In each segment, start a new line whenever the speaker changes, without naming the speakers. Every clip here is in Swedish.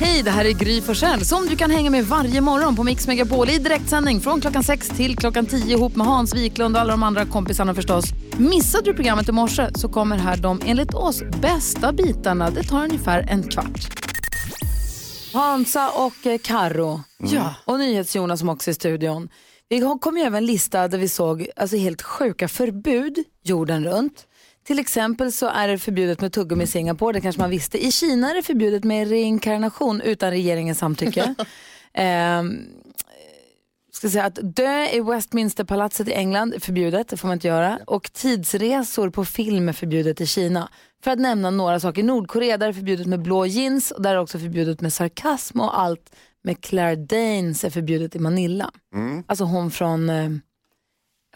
Hej, det här är Gry Forssell som du kan hänga med varje morgon på Mix Megapol i direktsändning från klockan 6 till klockan 10 ihop med Hans Wiklund och alla de andra kompisarna förstås. Missade du programmet i morse så kommer här de enligt oss bästa bitarna. Det tar ungefär en kvart. Hansa och eh, Karo. Ja. Och NyhetsJonas som också är i studion. Vi har- kom ju över en lista där vi såg alltså, helt sjuka förbud jorden runt. Till exempel så är det förbjudet med tuggummi i Singapore, det kanske man visste. I Kina är det förbjudet med reinkarnation utan regeringens samtycke. Ehm, ska säga att dö i Westminsterpalatset i England är förbjudet, det får man inte göra. Och tidsresor på film är förbjudet i Kina. För att nämna några saker, i Nordkorea där är det förbjudet med blå jeans och där är det också förbjudet med sarkasm och allt med Claire Danes är förbjudet i Manila.
Mm.
Alltså hon från eh,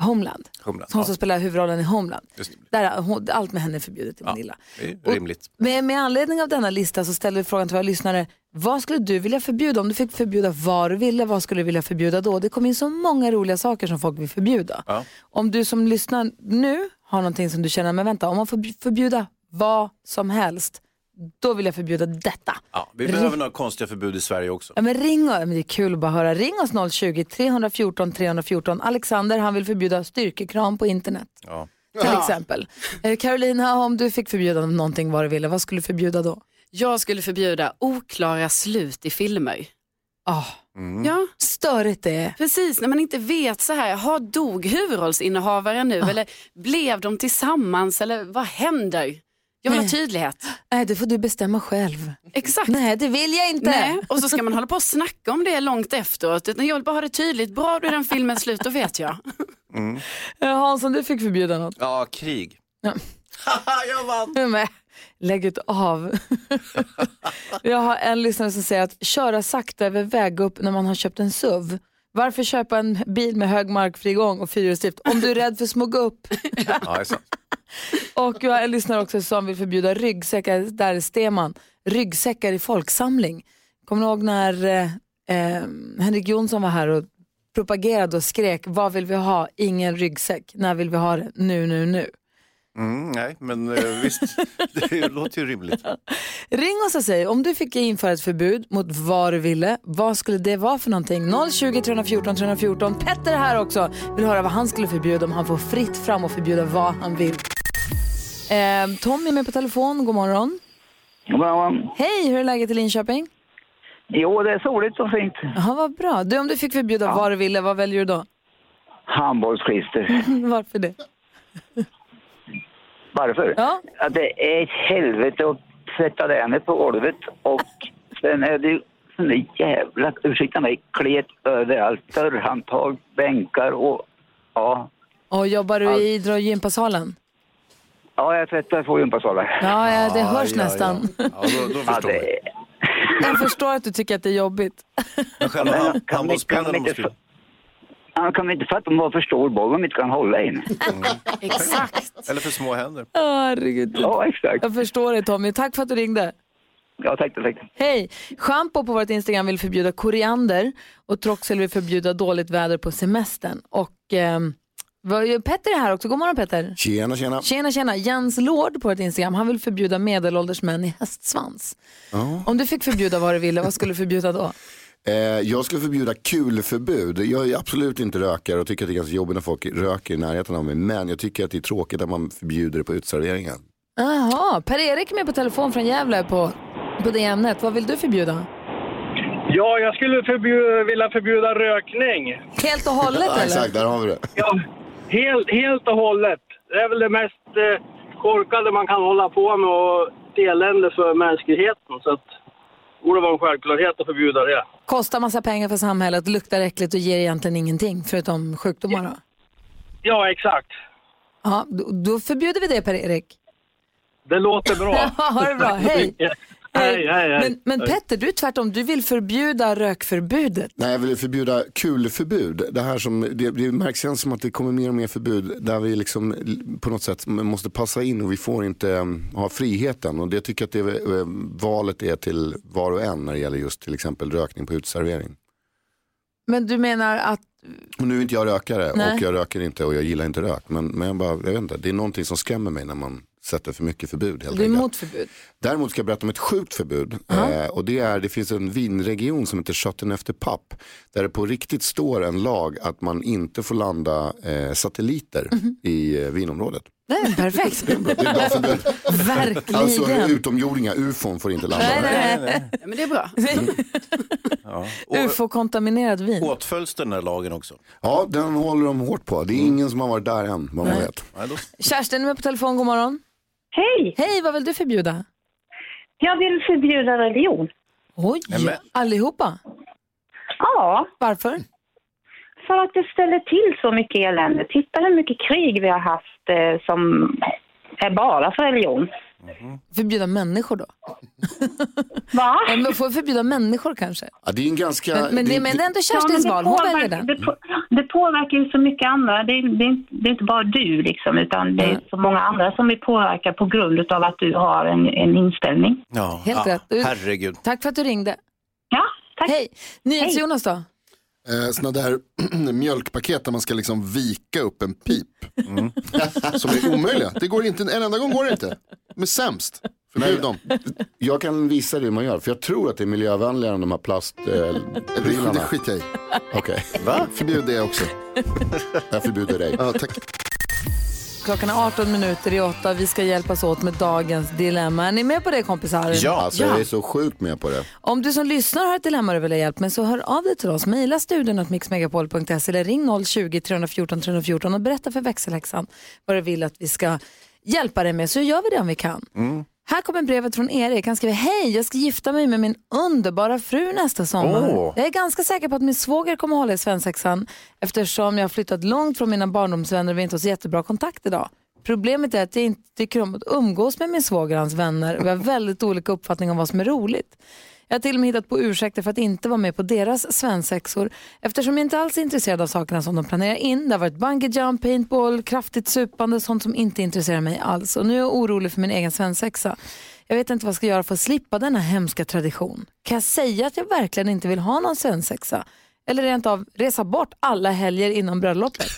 Homeland.
Humlan.
Hon som spelar huvudrollen i Homeland.
Just det.
Där, är hon, allt med henne är förbjudet i Manila.
Det är rimligt.
Med, med anledning av denna lista så ställer vi frågan till våra lyssnare. Vad skulle du vilja förbjuda? Om du fick förbjuda vad du ville, vad skulle du vilja förbjuda då? Det kom in så många roliga saker som folk vill förbjuda.
Ja.
Om du som lyssnar nu har någonting som du känner, men vänta, om man får förbjuda vad som helst, då vill jag förbjuda detta.
Ja, vi behöver några konstiga förbud i Sverige också.
Ja, men ring och, men det är kul att bara höra. Ring oss 020-314 314. Alexander han vill förbjuda styrkekram på internet
Ja.
till exempel. Eh, Carolina, om du fick förbjuda någonting vad du ville, vad skulle du förbjuda då?
Jag skulle förbjuda oklara slut i filmer.
Ah,
Ja,
Störigt det är.
precis. När man inte vet så här, har dog huvudrollsinnehavaren
Ah.
nu eller blev de tillsammans eller vad händer? Jag vill
Nej.
ha tydlighet.
Nej, det får du bestämma själv.
Exakt.
Nej, det vill jag inte.
Nej, och så ska man hålla på och snacka om det långt efteråt. Utan jag vill bara ha det tydligt. Bra, då är den filmen slut, då vet jag.
Eh, Hansson, du fick förbjuda något.
Ja, krig.
Ja.
Haha, jag vann!
Nej, Lägg ut av. jag har en lyssnare som säger att köra sakta över väggupp när man har köpt en SUV. Varför köpa en bil med hög markfri gång och fyrhjulsdrift om du är rädd för att små upp?
Ja, det är sant.
Och jag har en lyssnare också som vill förbjuda ryggsäckar, där är Steman, ryggsäckar i folksamling. Kommer ni ihåg när eh, eh, Henrik Jonsson var här och propagerade och skrek, vad vill vi ha? Ingen ryggsäck. När vill vi ha det? Nu, nu, nu.
Mm, nej, men eh, visst, det låter ju rimligt.
Ring oss och säg om du fick införa ett förbud mot vad du ville, vad skulle det vara för någonting? 020 314 314. Petter är här också. Vill höra vad han skulle förbjuda om han får fritt fram och förbjuda vad han vill. Eh, Tommy är med på telefon, god morgon.
God morgon.
Hej, hur är läget i Linköping?
Jo, det är soligt och fint.
Ja, vad bra. Du, om du fick förbjuda vad du ville, vad väljer du då?
Handbollsklister.
Varför det?
Varför?
Ja.
Att det är ett helvete att tvätta henne på golvet och sen är det ju sån där jävla, ursäkta mig, klet överallt. Dörrhandtag, bänkar och ja.
Och jobbar du i idro och gympasalen?
Ja, jag tvättar två gympasalar.
Ja, ja det
Ja,
hörs
ja,
nästan.
Ja, ja då, då
Ja,
förstår jag.
det,
Jag förstår att du tycker att det är jobbigt.
Men själva
Men
hand-
kan vi- kan
handbollsspelarna
vi inte
måste ju...
få- han kan inte fatta om varför stor boll om inte kan hålla in.
Exakt.
Eller för små händer.
Åh, Herregud.
Ja, exakt.
Jag förstår dig Tommy. Tack för att du ringde.
Ja, tack, tack.
Hej! Schampo på vårt Instagram vill förbjuda koriander och Troxel vill förbjuda dåligt väder på semestern. Och ehm, vad- Petter är här också. God morgon Petter!
Tjena, tjena.
Tjena tjena! Jens Lord på vårt Instagram, han vill förbjuda medelålders män i hästsvans. Om du fick förbjuda vad du ville, vad skulle du förbjuda då?
Eh, jag skulle förbjuda kulförbud. Jag är absolut inte rökare och tycker att det är ganska jobbigt när folk röker i närheten av mig. Men jag tycker att det är tråkigt att man förbjuder det på uteserveringar.
Jaha, Per-Erik är med på telefon från Gävle på, på det ämnet. Vad vill du förbjuda?
Ja, jag skulle förbjuda, vilja förbjuda rökning.
Helt och hållet
Ja,
eller?
exakt, där har vi det.
Ja, helt, helt och hållet. Det är väl det mest eh, korkade man kan hålla på med och ett elände för mänskligheten. Så att det borde vara en självklarhet att förbjuda det.
Kostar massa pengar för samhället, luktar äckligt och ger egentligen ingenting förutom sjukdomar då.
Ja, exakt.
Ja, då, då förbjuder vi det Per-Erik.
Det låter bra.
Ja, ha det bra. Hej.
hej, hej, hej.
Men, men Petter, du är tvärtom. Du vill förbjuda rökförbudet.
Nej, jag vill förbjuda kulförbud. Det, här som, det, det märks igen som att det kommer mer och mer förbud där vi liksom l- på något sätt m- måste passa in och vi får inte mm, ha friheten. Och det tycker jag att det, är- eh, valet är till var och en när det gäller just till exempel rökning på uteservering.
Men du menar att...
Och nu är inte jag rökare
Nej.
och jag röker inte och jag gillar inte rök. Men, men jag, bara, jag vet inte, det är någonting som skrämmer mig när man sätter för mycket förbud. Helt
Du är
enkelt.
emot förbud.
Däremot ska jag berätta om ett sjukt förbud. Eh, och det, är, det finns en vinregion som heter Schatten efter papp. Där det på riktigt står en lag att man inte får landa eh, satelliter
Mhm.
i eh, vinområdet.
Det är perfekt.
Det är ett bra förbud.
Verkligen.
alltså utomjordingar, ufon får inte landa
Nej,
där.
nej.
Ja, men det är bra.
UFO-kontaminerad vin.
Åtföljs den här lagen också?
Ja, den håller de hårt på. Det är
Mm.
ingen som har varit där än, vad man vet.
Nej, då...
Kerstin är med på telefon, god morgon.
Hej!
Hej, vad vill du förbjuda?
Jag vill förbjuda religion.
Oj,
Nej, men-
allihopa.
Ja,
Varför?
för att det ställer till så mycket elände. Titta hur mycket krig vi har haft eh, som är bara för religion.
Förbjuda människor då?
Va?
Ja, men får vi förbjuda människor kanske?
Ja, det är en ganska...
Men, men, det, men det är ändå Kerstins
Ja,
val,
men det
hon
påverkar-
väljer den.
Det, på, det påverkar ju så mycket andra. Det, är- det, är inte- det är inte bara du, liksom, utan det är så många andra som blir påverkade på grund av att du har en, en inställning.
ja,
Helt
ja,
rätt. Du-
Herregud.
Tack för att du ringde.
Ja, tack.
Hej, NyhetsJonas då?
Eh, såna där mjölkpaket där man ska liksom vika upp en pip.
Mm.
Som är omöjliga. Det går inte, en enda gång går det inte. De är sämst. Förbjud dem.
Jag kan visa dig hur man gör, för jag tror att det är miljövänligare än de här
Det, skit- det
plastprylarna.
skiter jag i.
Okej,
Förbjud det också.
jag förbjuder dig.
Ja, tack.
Klockan är 18 minuter i åtta. Vi ska hjälpas åt med dagens dilemma. Är ni med på det kompisar?
Ja,
Alltså, jag är så sjukt med på det.
Om du som lyssnar har ett dilemma du vill ha hjälp med så hör av dig till oss. Mejla studion att mixmegapol.se eller ring 020-314 314 och berätta för växelhäxan vad du vill att vi ska hjälpa dig med så gör vi det om vi kan. Här kommer brevet från Erik. Han skriver, hej, jag ska gifta mig med min underbara fru nästa sommar.
Åh.
Jag är ganska säker på att min svåger kommer hålla i svensexan eftersom jag har flyttat långt från mina barndomsvänner och vi inte har så jättebra kontakt idag. Problemet är att jag inte tycker om att umgås med min svåger och hans vänner och vi har väldigt olika uppfattning om vad som är roligt. Jag har till och med hittat på ursäkter för att inte vara med på deras svensexor eftersom jag inte alls är intresserad av sakerna som de planerar in. Det har varit bungee jump, paintball, kraftigt supande, sånt som inte intresserar mig alls. Och nu är jag orolig för min egen svensexa. Jag vet inte vad jag ska göra för att slippa denna hemska tradition. Kan jag säga att jag verkligen inte vill ha någon svensexa? Eller rent av resa bort alla helger innan bröllopet?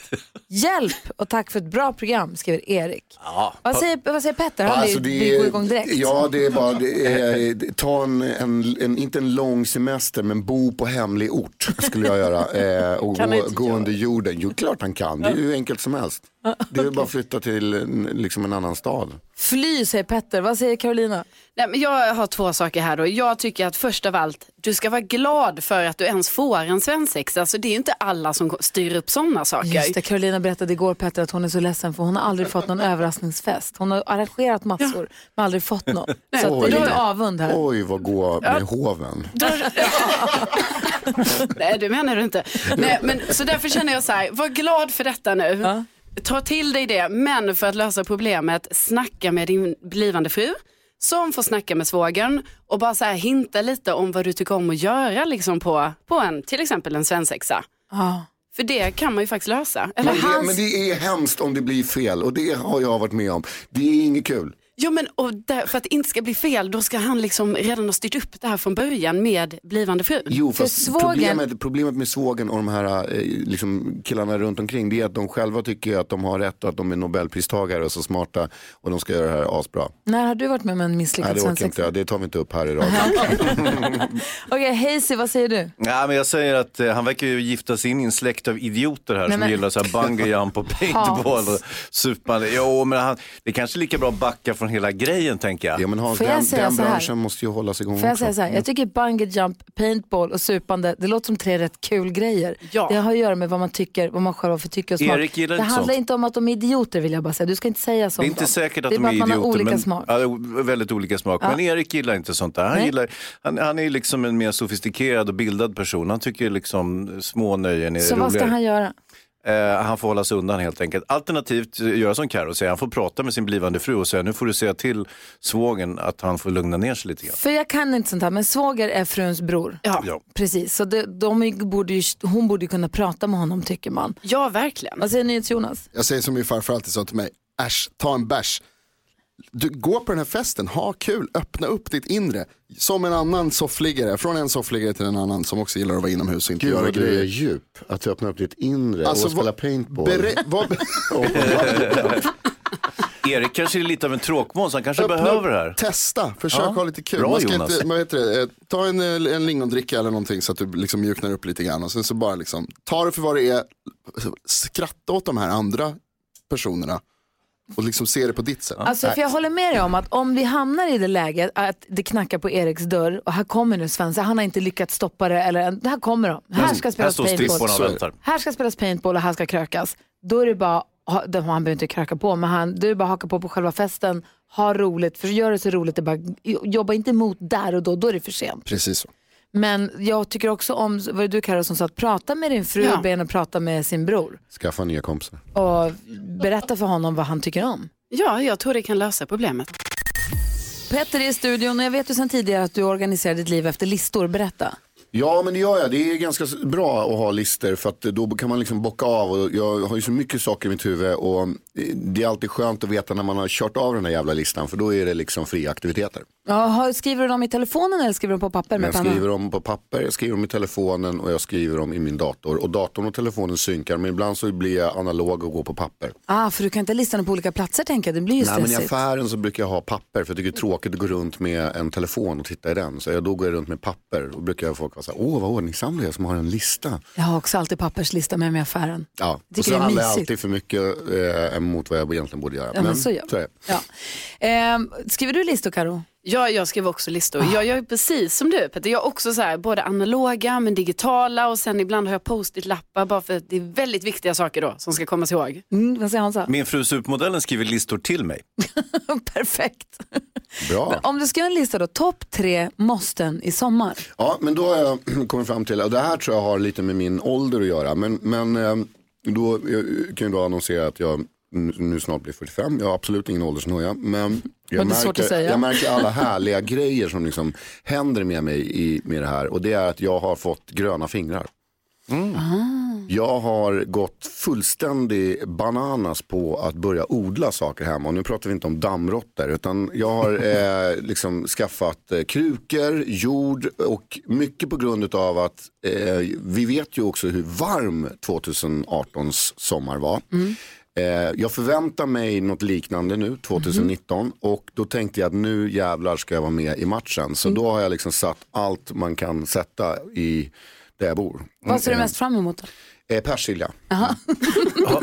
Hjälp och tack för ett bra program, skriver Erik. vad, säger, vad säger Petter? Han
Alltså,
vill,
det
vill
är-
gå igång direkt.
Ja, det är bara, det är, det- ta en, en, en, inte en lång semester, men bo på hemlig ort skulle jag göra. Eh, och
Kan
gå,
inte
gå under jorden. Jo, klart han kan. Det är ju enkelt som helst. Det är ju bara att flytta till en- liksom en annan stad.
Fly, säger Petter. Vad säger Carolina?
Nej, men jag har två saker här då. Jag tycker att först av allt, du ska vara glad för att du ens får en svensexa. Alltså det är ju inte alla som styr upp sådana saker.
Just det, Carolina berättade igår Petter att hon är så ledsen för hon har aldrig fått någon överraskningsfest. Hon har arrangerat massor men aldrig fått någon. Så att det
Oj.
är lite avund här.
Oj, vad gå med hoven.
Nej, det menar du inte. Nej, men, så därför känner jag så här, var glad för detta nu. Ta till dig det, men för att lösa problemet, snacka med din blivande fru som får snacka med svågern och bara så här hinta lite om vad du tycker om att göra liksom på, på en, till exempel en svensexa.
Ja.
För det kan man ju faktiskt lösa. Eller
Men det,
hans...
men det är hemskt om det blir fel och det har jag varit med om. Det är inget kul.
Jo men och där, för att det inte ska bli fel, då ska han liksom redan ha styrt upp det här från början med blivande fru.
Jo,
För
fast
svågen-
problemet, problemet med svågen och de här eh, liksom killarna runt omkring det är att de själva tycker att de har rätt och att de är nobelpristagare och så smarta och de ska göra det här asbra.
När har du varit med om en
Nej,
misslyckad
det orkar
svensexa?
inte jag. Det tar vi inte upp här i radion.
Okej, Hazy, vad säger du?
Nej, men jag säger att eh, han verkar ju gifta sig in i en släkt av idioter här
Nej,
som
men-
gillar så här bungee jump och paintball och supande. Jo, men han, det är kanske är lika bra att backa från hela grejen, tänker jag.
Ja, men Hans,
Får jag
den,
säga
den
så här?
branschen måste ju hållas igång
Får jag
också.
säga så
Mm.
här? Jag tycker bungee jump, paintball och supande, det låter som tre rätt kul grejer.
Ja.
Det har att göra med vad man tycker, vad man själv har för tycke och smak.
Erik gillar
det
inte
handlar
sånt.
inte om att de är idioter vill jag bara säga. Du ska inte säga sånt
Det är inte
om.
säkert att
det är
de är
bara att man
idioter.
har olika
men,
smak.
Ja, det är väldigt olika smak. Men Erik gillar inte sånt där. Han,
Nej.
gillar, han, han är liksom en mer sofistikerad och bildad person. Han tycker liksom små nöjen är
Så
roligare.
vad ska han göra?
Eh, han får hålla sig undan helt enkelt. Alternativt eh, göra som Karo säger, han får prata med sin blivande fru och säga nu får du säga till svågen att han får lugna ner sig lite grann.
För jag kan inte sånt här, men svåger är fruns bror.
Ja, ja.
Ja.
Precis, så det, de är- borde ju, hon borde ju kunna prata med honom tycker man.
verkligen.
Vad säger NyhetsJonas?
Jag säger som min farfar alltid sa till mig. Äsch, ta en bärs. Du, gå på den här festen, ha kul, öppna upp ditt inre. Som en annan soffliggare, från en soffliggare till en annan som också gillar att vara inomhus och inte
Gud
göra
vad Alltså, du är
grejer.
djup, att du öppnar upp ditt inre och
Alltså,
spela
vad-
paintball.
Berä- vad,
Åh, vad-
Erik kanske är lite av en tråkmåns, han kanske
Öppna
behöver
upp,
det här.
Testa, försök
Ja.
ha lite kul.
Bra,
man ska
Jonas.
inte, vad heter det, eh, ta en, eh, en lingondricka eller någonting så att du liksom mjuknar upp lite grann. Och sen så bara liksom, ta det för vad det är,
Alltså,
skratta åt de här andra personerna och liksom se det på ditt sätt.
Alltså, för jag håller med dig om att om vi hamnar i det läget att det knackar på Eriks dörr och här kommer nu Svensson, han har inte lyckats stoppa det eller här kommer de. Här ska
Här
spelas
står
paintball.
stripporna och
Så är
väntar.
Här ska spelas paintball och här ska krökas. Då är det bara, ha- det- han behöver inte kröka på, men han, då är det bara att haka på på själva festen, ha roligt, för gör det så roligt det bara, jobba inte emot där och då, då är det för sent.
Precis så.
Men jag tycker också om, vad det du Karo som sa, att prata med din fru
Ja.
och be henne prata med sin bror.
Skaffa nya kompisar.
Och berätta för honom vad han tycker om.
Ja, jag tror det kan lösa problemet.
Petter är i studion och jag vet ju sedan tidigare att du organiserar ditt liv efter listor. Berätta.
Ja, men det gör jag. Det är ganska s- bra att ha listor för att då kan man liksom bocka av. Och jag har ju så mycket saker i mitt huvud och eh, det är alltid skönt att veta när man har kört av den här jävla listan för då är det liksom fria aktiviteter.
Ja, har- skriver du dem i telefonen eller skriver du dem på papper med
Jag
penna?
skriver dem på papper, jag skriver dem i telefonen och jag skriver dem i min dator. Och datorn och telefonen synkar men ibland så blir jag analog och går på papper.
Ah, för du kan inte lista dem på olika platser tänker jag, det blir ju
Nej, men I
stressigt.
affären så brukar jag ha papper för jag tycker det är tråkigt att gå runt med en telefon och titta i den. Så jag, då går jag runt med papper och brukar folk vara så här, åh vad ordningsamlig jag är som har en lista.
Jag har också alltid papperslista med mig i affären.
Ja,
Tycker
och så
det är
handlar jag
mysigt.
alltid för mycket eh, emot vad jag egentligen borde göra.
Ja, men, så gör
är
jag.
det.
Ja. Ehm, skriver du listor Karo?
Ja, jag skrev också listor. Jag gör precis som du Peter. Jag är också så här, både analoga men digitala och sen ibland har jag post-it-lappar bara för att det är väldigt viktiga saker då som ska kommas ihåg.
Mm, vad säger Hansa?
Min fru supermodellen skriver listor till mig.
Perfekt.
Bra.
Om du ska göra en lista då, topp tre måsten i sommar.
Ja, men då har jag kommit fram till, och det här tror jag har lite med min ålder att göra, men, men eh, då eh, kan jag då annonsera att jag n- nu snart blir 45, jag har absolut ingen åldersnoja, men jag
Men det är svårt att
märker,
säga.
jag märker alla härliga grejer som liksom händer med mig i, med det här och det är att jag har fått gröna fingrar. Jag har gått fullständig bananas på att börja odla saker hemma. Och nu pratar vi inte om dammråttor. Utan jag har eh, liksom skaffat eh, krukor, jord och mycket på grund av att eh, vi vet ju också hur varm 2018s sommar var. Eh, jag förväntar mig något liknande nu 2019 och då tänkte jag att nu jävlar ska jag vara med i matchen. Så då har jag liksom satt allt man kan sätta i där jag bor.
Vad ser du
Eh,
mest fram emot? Då?
Eh, persilja.
Ha,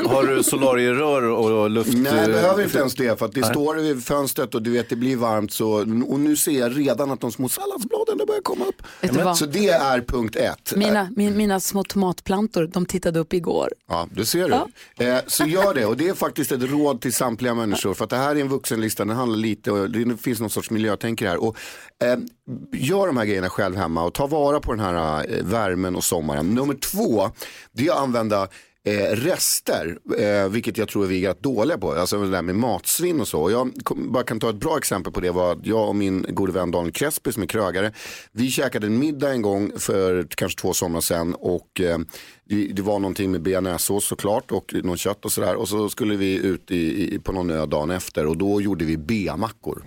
har du solarierör och, och luft...
Nej,
eh,
jag behöver inte ens det för att det står vid fönstret och du vet det blir varmt så och nu ser jag redan att de små salladsbladen där börjar komma upp.
Vet du vad?
Så det är punkt ett.
Mina,
mm.
min, mina små tomatplantor, de tittade upp igår.
Ja, det ser du. Eh, så gör det och det är faktiskt ett råd till samtliga människor för att det här är en vuxenlista, den handlar lite och det finns någon sorts miljötänkare här. Och, eh, gör de här grejerna själv hemma och ta vara på den här eh, värmen och sommaren. Nummer två, det är att använda eh, rester, eh, vilket jag tror vi är rätt dåliga på, alltså det där med matsvinn och så. Och jag kom, bara kan ta ett bra exempel på det var att jag och min gode vän Daniel Crespi som är krögare, vi käkade en middag en gång för kanske två somrar sedan och eh, det, det var någonting med bearnaisesås såklart och någon kött och sådär och så skulle vi ut i, i, på någon ö dagen efter och då gjorde vi beamackor.
är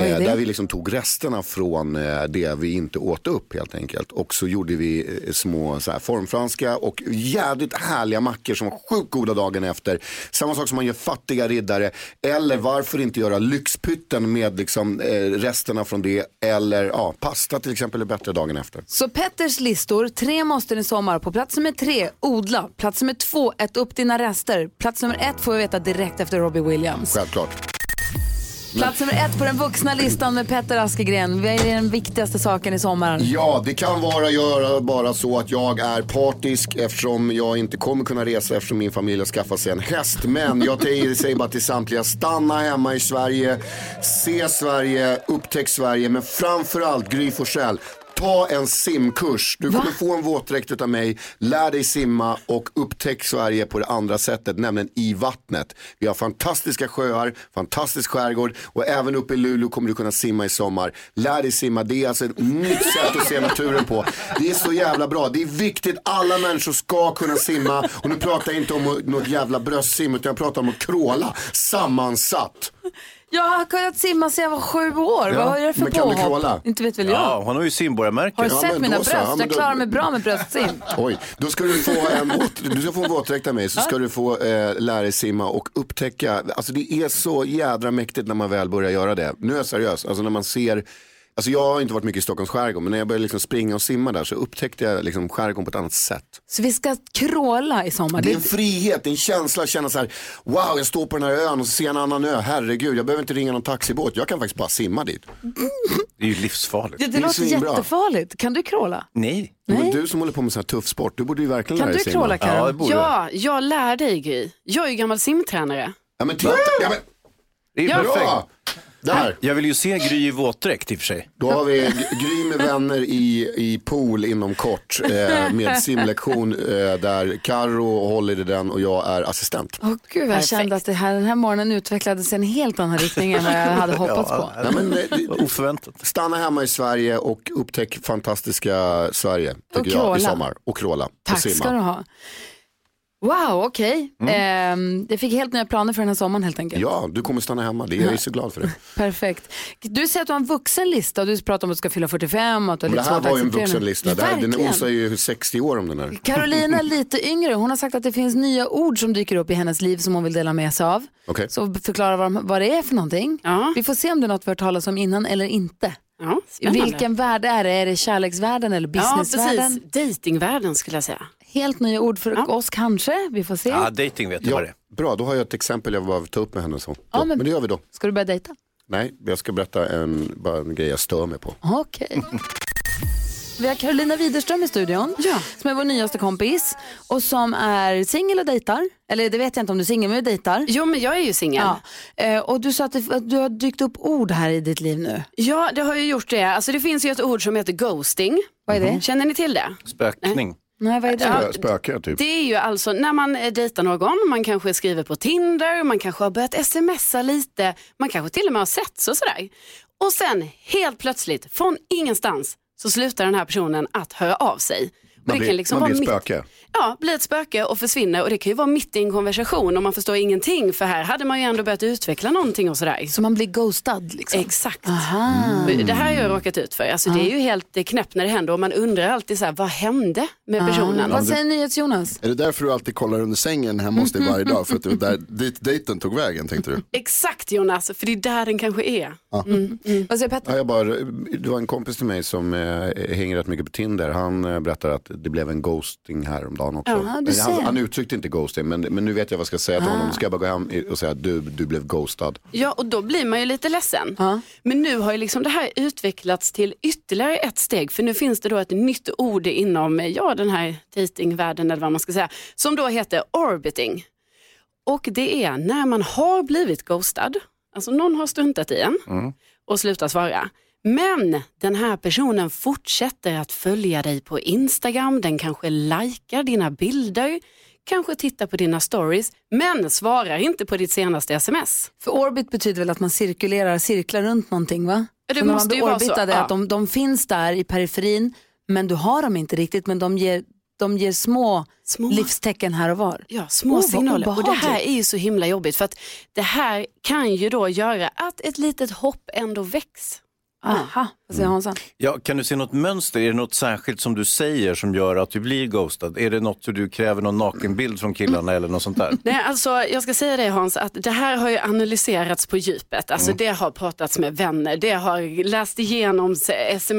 Eh,
det?
Där vi liksom tog resterna från eh, det vi inte åt upp helt enkelt. Och så gjorde vi eh, små så här, formfranska och jädrigt härliga mackor som var sjukt goda dagen efter. Samma sak som man gör fattiga riddare. Eller varför inte göra lyxpytten med liksom, eh, resterna från det. Eller ja, pasta till exempel är bättre dagen efter.
Så Petters listor, tre måsten i sommar. På plats nummer tre, odla. Plats nummer två, ät upp dina rester. Plats nummer ett får vi veta direkt efter Robbie Williams.
Självklart.
Plats nummer ett på den vuxna listan med Petter Askegren. Vad är den viktigaste saken i sommar?
Ja, det kan vara göra bara så att jag är partisk eftersom jag inte kommer kunna resa eftersom min familj har skaffat sig en häst. Men jag te- säger bara till samtliga, stanna hemma i Sverige, se Sverige, upptäck Sverige, men framförallt Gry Forssell. Ta en simkurs. Du kommer få en våtdräkt utav mig. Lär dig simma och upptäck Sverige på det andra sättet, nämligen i vattnet. Vi har fantastiska sjöar, fantastisk skärgård och även uppe i Luleå kommer du kunna simma i sommar. Lär dig simma, det är alltså ett nytt sätt att se naturen på. Det är så jävla bra. Det är viktigt, alla människor ska kunna simma. Och nu pratar jag inte om något jävla bröstsim utan jag pratar om att kråla sammansatt.
Jag har kunnat simma sedan jag var sju år.
Ja,
Vad är det för
men kan du
påhopp?
crawla?
Inte vet väl jag.
Ja, hon har ju simborgarmärke.
Har du
Ja,
sett
men
mina
då så.
bröst?
Ja, men
jag
då-
klarar mig bra med bröstsim.
Oj, då ska du få en, våt, du ska få en våtdräkt av mig så ska du få eh, lära dig simma och upptäcka. Alltså det är så jädra mäktigt när man väl börjar göra det. Nu är jag seriös, alltså när man ser Alltså jag har inte varit mycket i Stockholms skärgård men när jag började liksom springa och simma där så upptäckte jag liksom skärgården på ett annat sätt.
Så vi ska kråla i sommar.
Det är en frihet, det är en känsla att känna så här, wow jag står på den här ön och så ser jag en annan ö, herregud jag behöver inte ringa någon taxibåt, jag kan faktiskt bara simma dit.
Det är ju livsfarligt.
det, det
är
låter
svinbra.
jättefarligt. Kan du kråla?
Nej.
Men du som håller på med sån här tuff sport, du borde ju verkligen
Kan
lära dig
du kråla
simma.
Ja, det
Karin?
borde
Ja, jag lär dig Gry. Jag är ju gammal simtränare.
Ja men titta, ja, men,
Det är ju perfekt.
bra! Där!
Jag vill ju se Gry i våtdräkt i och för sig.
Då har vi G- Gry med vänner i, i pool inom kort eh, med simlektion eh, där Karo håller i den och jag är assistent.
Åh gud, jag kände att det här, den här morgonen utvecklades i en helt annan riktning än vad jag hade hoppats på.
Nej, men, eh,
Oförväntat.
stanna hemma i Sverige och upptäck fantastiska Sverige tycker
Och
jag, i
crawla.
sommar. Och kråla.
Tack
och simma. Mm.
ska du ha. Wow, okej. Ehm, jag fick helt nya planer för den här sommaren helt enkelt.
Ja, du kommer stanna hemma. Det är jag är så glad för det.
Perfekt. Du säger att du har en vuxenlista och du pratar om att du ska fylla 45 och att du har
Men det
lite
här
svårt liksom att
var ju en
acceptera den.
vuxenlista. Det här, den
Verkligen.
osar ju 60 år om den här.
Carolina är lite yngre. Hon har sagt att det finns nya ord som dyker upp i hennes liv som hon vill dela med sig av.
Okej.
Så förklara vad, de- vad det är för någonting.
Ja.
Vi får se om det är något vi har hört talas om innan eller inte.
Ja,
I
spännande.
vilken värld är det? Är det kärleksvärlden eller
Ja,
businessvärlden?
precis. Datingvärlden skulle jag säga.
Helt nya ord för oss kanske. Vi får se.
Ja, dating vet jag
Ja,
vad det är.
bra, då har jag ett exempel jag behöver ta upp med henne. Så.
Ja,
Ja,
men-
men... det gör vi då.
Ska du börja dejta?
Nej, jag ska berätta en, bara en grej jag stör mig på.
Okej. Vi har Carolina Widerström i studion,
Ja.
som är vår nyaste kompis och som är singel och dejtar. Eller det vet jag inte om du är singel, men du dejtar.
Jo, men jag är ju singel.
Ja.
Ja.
Eh, Och du sa att, det, att du har dykt upp ord här i ditt liv nu.
det har jag gjort det. Alltså, det finns ju ett ord som heter ghosting. Vad är det? Känner ni till det?
Spökning.
Nej, vad är det?
Spö- Spökar typ.
Det är ju alltså när man eh, dejtar någon, man kanske skriver på Tinder, man kanske har börjat smsa lite, man kanske till och med har sett så sådär. Och sen helt plötsligt, från ingenstans, så slutar den här personen att höra av sig. Och liksom
Man blir,
liksom
man
vara
blir
mitt-
spöke.
Ja, blir ett spöke och försvinner och det kan ju vara mitt i en konversation och man förstår ingenting för här hade man ju ändå börjat utveckla någonting och sådär.
Så man blir ghostad liksom?
Exakt. Mm.
Aha.
Det här har jag råkat ut för. Alltså, Det är ju helt det är knäppt när det händer och man undrar alltid så här, vad hände med personen?
Vad säger NyhetsJonas?
Är det därför du alltid kollar under sängen hemma hos dig varje dag? För att det var där dit dejten tog vägen tänkte du?
Exakt Jonas, för det är där den kanske är.
Vad säger Petter?
Ja, jag bara, det var en kompis till mig som eh, hänger rätt mycket på Tinder. Han eh, berättar att det blev en ghosting häromdagen också.
Jaha, du
Men
ser. Ah.
han, han uttryckte inte ghosting, men, men nu vet jag vad jag ska säga till honom. Ska jag bara gå hem och säga du, du blev ghostad?
Ja, och då blir man ju lite ledsen. Men nu har ju liksom det här utvecklats till ytterligare ett steg, för nu finns det då ett nytt ord inom eh, ja, den här datingvärlden eller vad man ska säga, som då heter orbiting. Och det är när man har blivit ghostad, alltså någon har stuntat i en och slutar svara. Men den här personen fortsätter att följa dig på Instagram, den kanske likar dina bilder, kanske tittar på dina stories, men svarar inte på ditt senaste sms.
För orbit betyder väl att man cirkulerar, cirklar runt någonting va?
Ja, det
Så när man
måste
blir
ju vara
orbitad
så,
är
ja.
att de, de finns där i periferin men du har dem inte riktigt men de ger, de ger små,
Små.
livstecken här och var.
Ja,
Åh,
små
vad
signaler. Och det här
obehagligt.
är ju så himla jobbigt för att det här kan ju då göra att ett litet hopp ändå väcks.
Aha, vad
Mm.
säger Hansan?
Ja, kan du se något mönster? Är det något särskilt som du säger som gör att du blir ghostad? Är det något hur du kräver någon nakenbild från killarna eller något sånt där?
Nej, alltså, jag ska säga det Hans, att det här har ju analyserats på djupet. Alltså, Det har pratats med vänner, det har läst igenom s-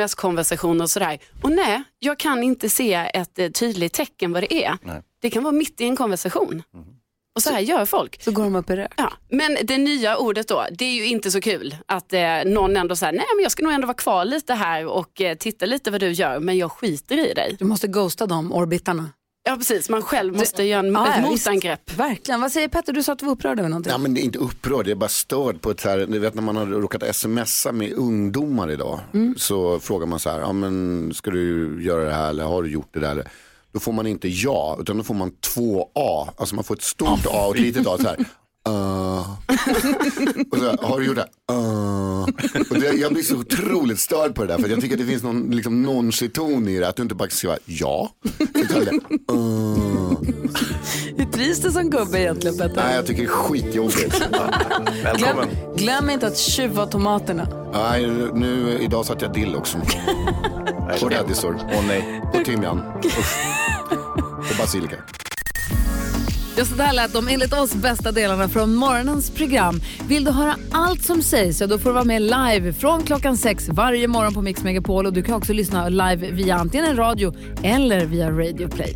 sms-konversationer och sådär. Och nej, jag kan inte se ett eh, tydligt tecken vad det är. Det kan vara mitt i en konversation. Och så här gör folk.
Så går de upp i rök.
Ja, men det nya ordet då, det är ju inte så kul att eh, någon ändå säger nej men jag ska nog ändå vara kvar lite här och eh, titta lite vad du gör men jag skiter i dig.
Du måste ghosta dem, orbitarna.
Ja precis, man själv måste göra en,
Ja,
ett
ja, visst.
motangrepp.
Verkligen. Vad säger Petter? Du sa att du var upprörd över någonting.
Ja, men det är inte upprörd, jag är bara störd på ett så här, ni vet när man har råkat smsa med ungdomar idag. Så frågar man så här, ja, men, ska du göra det här eller har du gjort det där? Då får man inte ja, utan då får man två A. Alltså man får ett stort A och ett litet A. Så här, "Ah." och så här, har du gjort det? "Ah." Och det, jag blir så otroligt störd på det där. För jag tycker att det finns någon liksom, nonchiton i det. Att du inte bara ska skriva ja. Utan det, "Ah."
Hur trivs du som gubbe egentligen Petter?
Nej, jag tycker det är skitjobbigt.
Glöm,
Välkommen.
glöm inte att tjuva tomaterna.
Nej, nu, idag satt jag dill också. Och rädisor.
Åh nej.
Och timjan. Usch. Och basilika.
Ja, så där lät de enligt oss bästa delarna från morgonens program. Vill du höra allt som sägs, ja, då får du vara med live från klockan sex varje morgon på Mix Megapol. Och du kan också lyssna live via antingen radio eller via Radio Play.